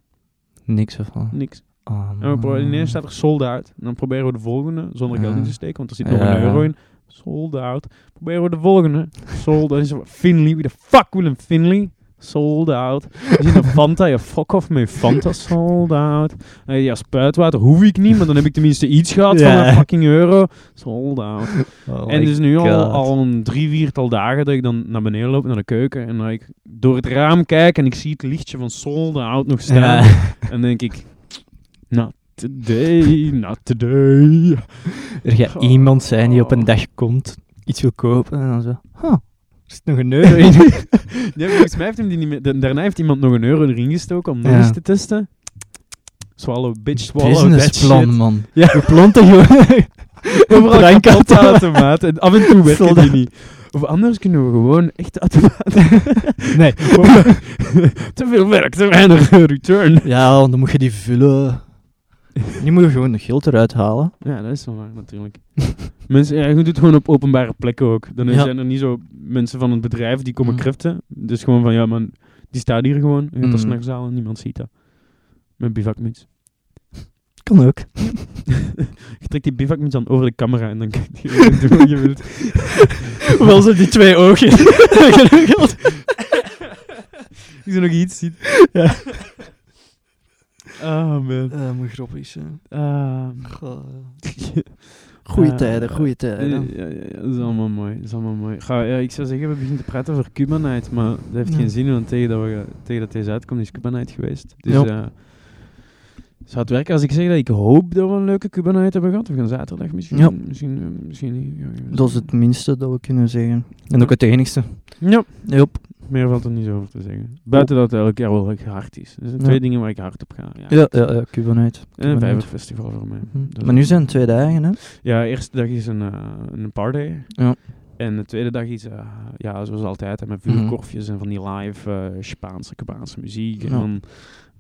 Niks ervan.
Niks.
Ah,
En we proberen, ineens
man. [LAUGHS]
staat er sold out. En dan proberen we de volgende zonder geld in te
Ja.
steken. Want er zit nog
Ja.
een euro in. Sold out. Proberen we de volgende. Sold out. Is er- Finley. Wie de fuck wil een Finley? Sold out. Is het een Fanta? Ja, fuck off met Fanta. Sold out. Eh, ja, spuitwater hoef ik niet. Maar dan heb ik tenminste iets gehad
Ja.
van een fucking euro. Sold out.
Oh
en dus-
my
het is nu al,
God.
al een drie, viertal dagen dat ik dan naar beneden loop, naar de keuken. En dat ik door het raam kijk en ik zie het lichtje van sold out nog staan.
Ja.
En denk ik, not today,
[LAUGHS]
not today.
Er gaat
Oh.
iemand zijn die op een dag komt, iets wil kopen en dan zo. Huh, er zit nog een euro
[LAUGHS]
in.
Nee, volgens mij heeft hem die niet meer, da- daarna heeft iemand nog een euro erin gestoken om nog
Ja.
eens te testen. Swallow, bitch, swallow, that
Businessplan,
shit. [LAUGHS]
man.
Ja.
Je plont er
[LAUGHS]
gewoon
Overal
Drank
kapot aan
automaat.
automaat. En af
[LAUGHS]
en toe werken
Soldaat.
die niet. Of anders kunnen we gewoon echt automaat. [LAUGHS]
Nee.
te veel werk, te weinig [LAUGHS] eh, return.
Ja, want dan moet je die vullen. Nu moet je gewoon de geld eruit halen.
Ja, dat is wel waar, natuurlijk. [LAUGHS] mensen, ja, je doet het gewoon op openbare plekken ook. Dan
Ja.
zijn er niet zo mensen van het bedrijf die komen
Mm.
kriften. Dus gewoon van, ja man, die staat hier gewoon. Je gaat dat
Mm.
s'nachts halen, niemand ziet dat. Met bivakmuts. [LAUGHS]
Kan ook.
Je trekt die bivakmuts dan over de camera en dan kijkt je doen wat je wilt.
[LAUGHS] Wel zo die twee ogen.
Als je nog iets ziet.
Ja.
[LAUGHS] Ah man.
Eh moet grappies. hè.
Ah.
[LAUGHS] Goeie
Eh,
tijden, goeie
Ja,
tijden.
ja, ja, dat is allemaal mooi. Dat is allemaal mooi. Ga, ja, ik zou zeggen, we beginnen te praten over Cuba Night, maar dat heeft
Ja.
geen zin, want tegen dat, we, tegen dat deze uitkomt is Cuba Night geweest. Dus
Ja.
eh, zou het werken als ik zeg dat ik hoop dat we een leuke Cuba Night hebben gehad? We gaan zaterdag misschien.
Ja.
Misschien, eh, misschien niet. Ja, ja.
Dat is het minste dat we kunnen zeggen. En ook het enigste.
Ja,
Yep.
meer valt er niet zo over te zeggen. Buiten dat het elk jaar wel hard is. Er zijn
Oh. Ja.
twee dingen waar ik hard op ga. Ja. Eh,
Ja, ja, ja, Cuba Night.
En een
Cuba Night.
vijverfestival voor mij. Dat
Hm.
is
Maar nu zijn het twee dagen, hè?
Ja, de eerste dag is een, eh, een party.
Ja.
En de tweede dag is, eh, ja, zoals altijd, hè, met
Mhm.
vuurkorfjes en van die live eh, Spaanse, Cubaanse muziek. En
Ja.
dan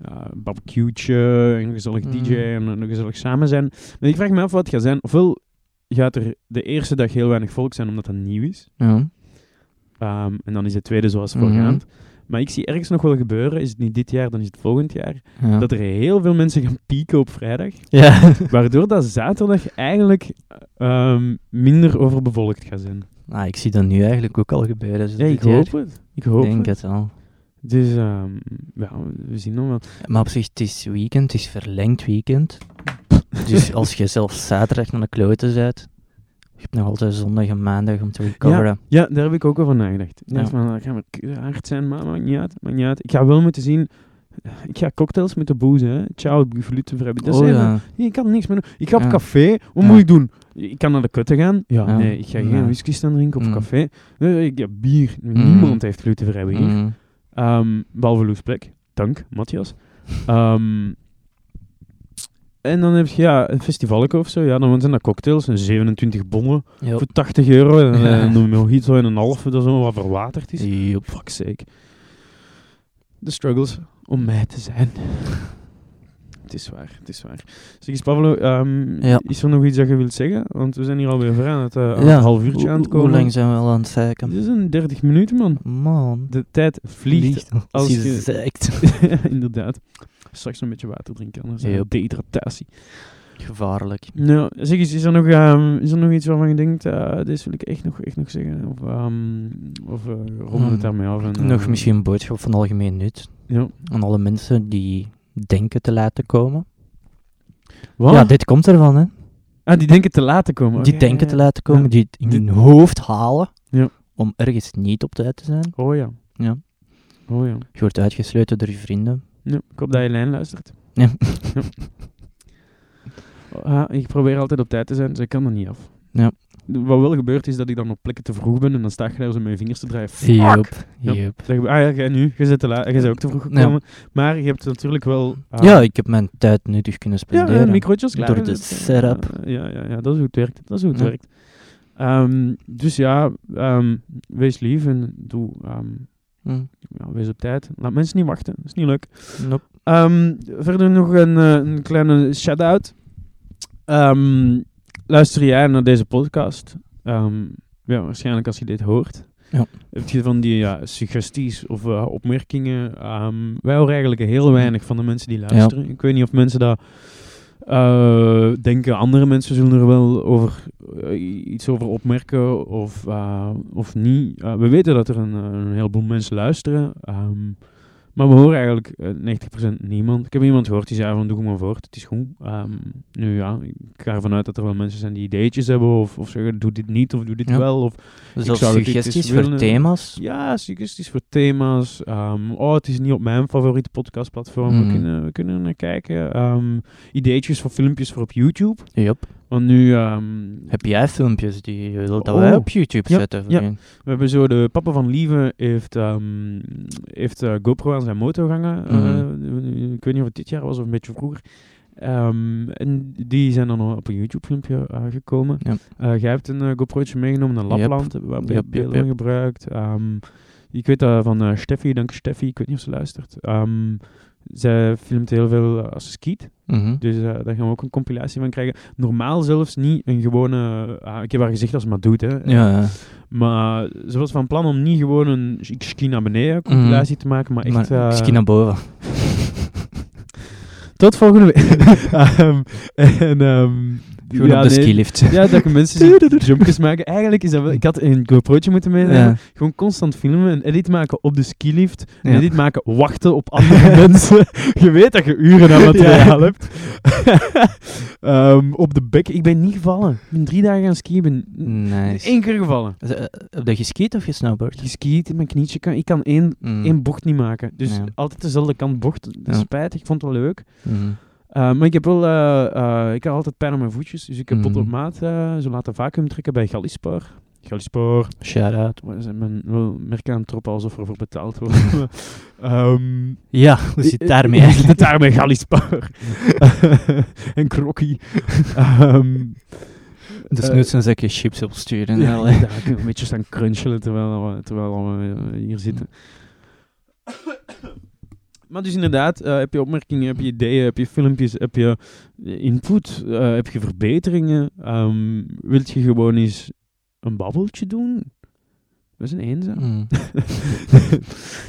eh barbecue'tje, en een gezellig
Mhm.
DJ en een gezellig samen zijn. Maar ik vraag me af wat het gaat zijn. Ofwel gaat er de eerste dag heel weinig volk zijn omdat dat nieuw is.
Ja.
Ehm, en dan is de tweede zoals
Mhm.
voorgaand. Maar ik zie ergens nog wel gebeuren, is het niet dit jaar, dan is het volgend jaar,
Ja.
dat er heel veel mensen gaan pieken op vrijdag. [LAUGHS]
ja.
Waardoor dat zaterdag eigenlijk ehm, minder overbevolkt gaat zijn.
Nou, ik zie dat nu eigenlijk ook al gebeuren. dus Is het
Ja, ik
dit jaar?
hoop het. Ik hoop
Ik denk
het.
het al.
Dus ehm, ja, we zien nog wel.
Maar op zich, het is weekend, het is verlengd weekend.
[LAUGHS]
Dus als je zelfs zaterdag naar de kloten zet, je hebt nog altijd zondag en maandag om te recoveren.
Ja, daar heb ik ook over nagedacht. Ik dacht
Ja.
van, dat gaat maar hard zijn, maar maakt niet uit, maakt niet uit. Ik ga wel moeten zien... Ik ga cocktails moeten boezen, hè. Ciao, glutenvrij. Dat is
oh
even-
ja.
Ik kan er niks meer doen. Ik ga op
Ja.
café. Wat
Ja.
moet ik doen? Ik kan naar de kutte gaan. Ja,
Ja.
nee, ik ga geen
Ja.
whisky staan drinken op
Mm.
café. Nee, ik heb bier.
Mm.
Niemand heeft glutenvrij bier.
Mhm.
Ehm, behalve Loes Plek. Dank,
[LAUGHS]
Matthias. Ehm, en dan heb je ja, een festivalke of zo. Ja, dan zijn dat cocktails. En 27 bonnen
Joop.
voor 80 euro. En
Ja. [LAUGHS]
eh, een mojito en een halve. Dat is allemaal wat verwaterd is.
Joop.
Fuck sake. De struggles om mij te
[LAUGHS]
zijn. Het is waar, het is waar. Zeg eens, Pablo, ehm,
Ja.
is er nog iets dat je wilt zeggen? Want we zijn hier alweer vrij aan het eh, aan
Ja.
het half uurtje aan het
Hoe- Hoe
komen.
lang zijn we al aan het zeiken?
Dit is een 30 minuten, man.
Man.
De tijd vliegt als
Als je
je-
zeikt.
[LAUGHS] Inderdaad. Straks een beetje water drinken, anders eh,
Yep.
dehydratatie.
Gevaarlijk.
Nou, zeg eens, is er nog, ehm, is er nog iets waarvan je denkt, eh dit wil ik echt nog, echt nog zeggen? Of, ehm, of eh, ronden we het
Hmm.
daarmee af? En, eh,
Nog misschien een boodschap van algemeen nut
Ja.
aan alle mensen die denken te laten komen.
Wat?
Ja, dit komt ervan, hè.
ah, die denken te laten komen.
Die
Oké,
denken te
ja,
laten komen, die het in
Dit-
hun hoofd halen
Ja.
om ergens niet op tijd te zijn.
ja. Oh ja.
Ja.
Oh ja.
Je wordt uitgesloten door je vrienden. [LAUGHS]
Ja, ik hoop dat je lijn luistert.
Ja.
Ja. Ah, ik probeer altijd op tijd te zijn, dus ik kan er niet af.
Ja.
Wat wel gebeurt is dat ik dan op plekken te vroeg ben en dan sta ik daar zo met mijn vingers te draaien. Fuck!
Joep,
Ja.
joep.
Zeg maar, ah ja, jij nu, je bent, te laat, jij bent ook te vroeg
Ja.
gekomen. Maar je hebt natuurlijk wel... ah,
Ja, ik heb mijn tijd nuttig kunnen
ja,
spenderen.
ja, microotjes klaar.
Door de
Dat, eh,
setup.
Ja, ja, ja, dat is hoe het werkt. Dat is hoe het
Ja.
werkt. Ehm, dus ja, ehm, wees lief en doe, ehm,
Hm,
ja, wees op tijd. Laat mensen niet wachten, dat is niet leuk.
nope.
Ehm, verder nog een, eh, een kleine shout-out. Ehm, luister jij naar deze podcast? Ehm, ja, waarschijnlijk als je dit hoort.
Ja.
Heb je van die ja, suggesties of eh, opmerkingen? Ehm, wij horen eigenlijk heel weinig van de mensen die luisteren. Ik weet niet of mensen dat eh, denken. Andere mensen zullen er wel over, eh, iets over opmerken of, eh, of niet. Eh, we weten dat er een, eh, een heleboel mensen luisteren. Ehm, maar we horen eigenlijk eh, 90% niemand. Ik heb iemand gehoord die zei van doe gewoon voort, het is goed. Ehm, nu ja, ik ga ervan uit dat er wel mensen zijn die ideetjes hebben of, of zeggen doe dit niet of doe dit
Ja.
wel. Of,
Zelfs
zou het iets
Dus suggesties
willen.
voor thema's.
ja, suggesties voor thema's. Ehm, oh, het is niet op mijn favoriete podcastplatform. We,
Mhm.
kunnen, we kunnen er naar kijken. Ehm, ideetjes voor filmpjes voor op YouTube.
Joep.
Want nu, ehm,
Heb jij filmpjes die je wilt dat
Oh.
wij op YouTube
Ja,
zetten?
ja. we hebben zo de papa van Lieve heeft, ehm, heeft eh, GoPro aan zijn motor hangen.
Mhm.
Eh, ik weet niet of het dit jaar was of een beetje vroeger. Ehm, en die zijn dan op een YouTube filmpje eh, gekomen.
Ja.
Eh, jij hebt een eh, GoPro'tje meegenomen naar
Yep.
Lapland. Hebben We
Yep,
hebben
yep,
beelden
yep.
gebruikt. Ehm, ik weet dat van eh, Steffi, dank je Steffi, ik weet niet of ze luistert. Ehm, zij filmt heel veel eh, als ze skiet.
Mhm.
Dus eh, daar gaan we ook een compilatie van krijgen. Normaal zelfs niet een gewone... ah, ik heb haar gezegd als ze maar doet, hè.
ja. ja.
eh, Maar ze was van plan om niet gewoon een ik ski naar beneden compilatie te maken, maar echt...
Mhm. Maar
eh,
misschien naar boven.
Tot volgende
[LAUGHS]
week. Ehm, en, ehm,
Gewoon op de
nee.
skilift.
Ja, dat je mensen
[LAUGHS]
zien jumpjes maken. Eigenlijk is dat wel... Ik had een GoPro'tje moeten meenemen.
Ja.
Gewoon constant filmen, een edit maken op de skilift. Een
Ja.
edit maken, wachten op
[LAUGHS]
andere mensen. [LAUGHS] Je weet dat je uren aan materiaal hebt. [LAUGHS] Ehm, op de bek. Ik ben niet gevallen. Ik ben drie dagen gaan skiën. Ik ben
[LAUGHS] Nice.
één keer gevallen.
Z- eh, Heb je geskiet of gesnowboard?
Geskiet, mijn knietje kan... Ik kan één,
Mm.
één bocht niet maken. Dus
Ja.
altijd dezelfde kant bocht. Dat is
Ja.
spijtig. Ik vond het wel leuk.
Mhm.
Eh, maar ik heb wel... eh, eh, ik had altijd pijn aan mijn voetjes. Dus ik heb tot
Mhm.
op maat eh, zo laten vacuüm trekken bij Galispaar. Galispaar.
Shout-out.
We zijn men wel merken aan het troppen alsof ervoor betaald wordt. [LAUGHS]
[LAUGHS]
Maar, Ehm
Ja, hoe zit het daarmee
Hoe [LAUGHS] zit het
eigenlijk?
daarmee,
[LAUGHS]
[LAUGHS] Galispar? en Krokkie. [LAUGHS] Ehm
[LAUGHS] Dus
eh,
nu een zakje chips opsturen.
ja,
Ja,
inderdaad, [LAUGHS] een beetje staan crunchelen terwijl, we- terwijl we eh, hier zitten. [COUGHS] Maar dus inderdaad, eh, heb je opmerkingen, heb je ideeën, heb je filmpjes, heb je input, eh, heb je verbeteringen? Ehm wilt je gewoon eens een babbeltje doen? We zijn eenzaam. [LAUGHS]
Mm.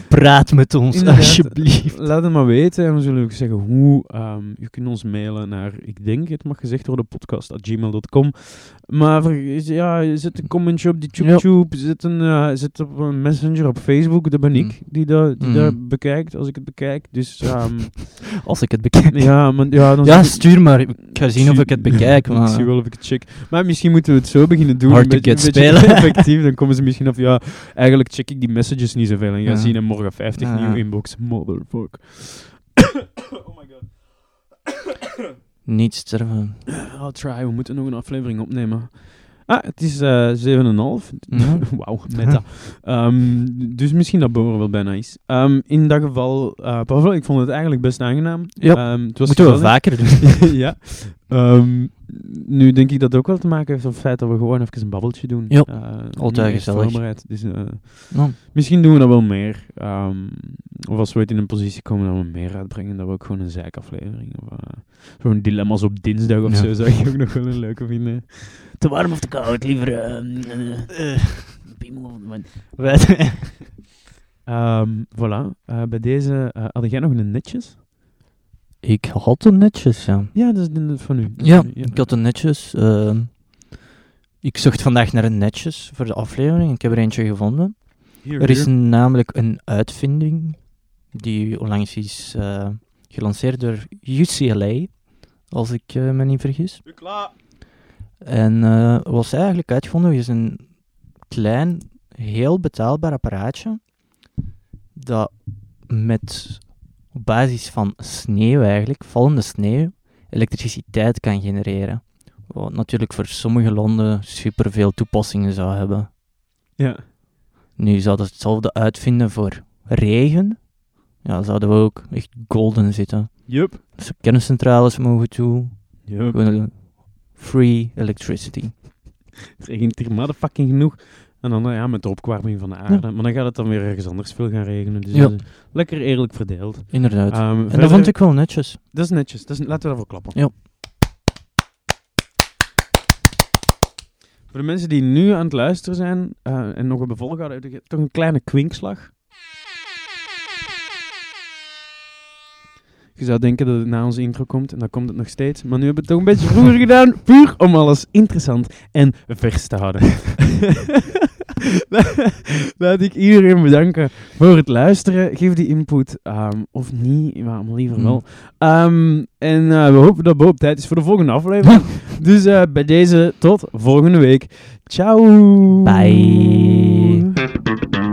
Praat met ons,
Inderdaad.
alsjeblieft.
Laat het maar weten en we zullen ook zeggen hoe. ehm, je kunt ons mailen naar, ik denk het mag gezegd worden, podcast.gmail.com. Maar ver- ja, zet een commentje op die YouTube, zet, een, eh, zet op een messenger op Facebook, dat ben ik die dat die
Mm.
dat bekijkt, als ik het bekijk. Dus ehm, [LAUGHS]
Als ik het bekijk.
ja, maar, ja, dan
Ja,
zit ik-
stuur maar. Ik ga zien of ik het
[LAUGHS]
bekijk.
ik zie
Maar...
wel of ik het check. Maar misschien moeten we het zo beginnen doen.
Hard
een
to
beetje,
get
een beetje
spelen.
[LAUGHS] effectief. Dan komen ze misschien af. Ja, eigenlijk check ik die messages niet zoveel. En ga
Ja.
zien en morgen 50
Ja.
nieuw inbox. Motherfuck. [COUGHS] oh my god.
Niets sterven.
I'll try. We moeten nog een aflevering opnemen. Ah, het is eh 7,5.
Ja.
[LAUGHS] Wauw, meta. Ehm, dus misschien dat Boren wel bijna is. Ehm, in dat geval, eh Pavel, ik vond het eigenlijk best aangenaam.
Ja.
Ehm, het was
Moeten we
gezellig.
vaker
[LAUGHS]
doen.
ja. Ehm, nu denk ik dat het ook wel te maken heeft met het feit dat we gewoon even een babbeltje doen.
Ja.
Eh, niet
Altijd
echt
gezellig.
Voorbereid. Dus, eh,
Ja.
misschien doen we dat wel meer. Ehm, of als we ooit in een positie komen dat we meer uitbrengen, dat we ook gewoon een zeikaflevering. Of eh, zo'n dilemma's op dinsdag of
Ja.
zo zou ik ook nog wel een leuke vinden.
Te warm of te koud, liever. ehm, eh, eh, piemel of- man.
Wij-
[LAUGHS] Ehm, voilà. Eh, bij deze, eh had jij nog een netjes?
Ik had hem netjes, ja.
Ja, dat is de net van u. Dat is
Ja,
van u,
ik had een netjes. ehm. ik zocht vandaag naar een netjes voor de aflevering. Ik heb er eentje gevonden.
Hier,
Er is
hier.
een- namelijk een uitvinding die onlangs is eh, gelanceerd door UCLA, als ik eh, me niet vergis. En eh, wat zij eigenlijk uitvonden is een klein, heel betaalbaar apparaatje dat met op basis van sneeuw eigenlijk, vallende sneeuw, elektriciteit kan genereren. Wat natuurlijk voor sommige landen superveel toepassingen zou hebben.
Ja.
Nu zouden ze hetzelfde uitvinden voor regen. Ja, zouden we ook echt golden zitten.
Yup.
Dus kerncentrales mogen toe. Gewoon free electricity.
Er regent hier motherfucking genoeg. En dan nou ja, met de opwarming van de aarde. Maar dan gaat het dan weer ergens anders veel gaan regenen. Dus
Ja.
dat is lekker eerlijk verdeeld.
Inderdaad.
Ehm,
en
verder-
dat vond ik wel netjes.
Dat is netjes. Dat is, laten we daarvoor klappen.
Ja.
Voor de mensen die nu aan het luisteren zijn eh, en nog hebben volgehouden, heb je toch een kleine kwinkslag. Je zou denken dat het na onze intro komt, en dan komt het nog steeds. Maar nu hebben we het toch een beetje vroeger gedaan, puur om alles interessant en vers te houden. [LAUGHS] Laat ik iedereen bedanken voor het luisteren. Geef die input, ehm, of niet, maar liever wel. Ehm, en eh, we hopen dat Bo op tijd is voor de volgende aflevering. dus eh, bij deze tot volgende week. Ciao.
Bye.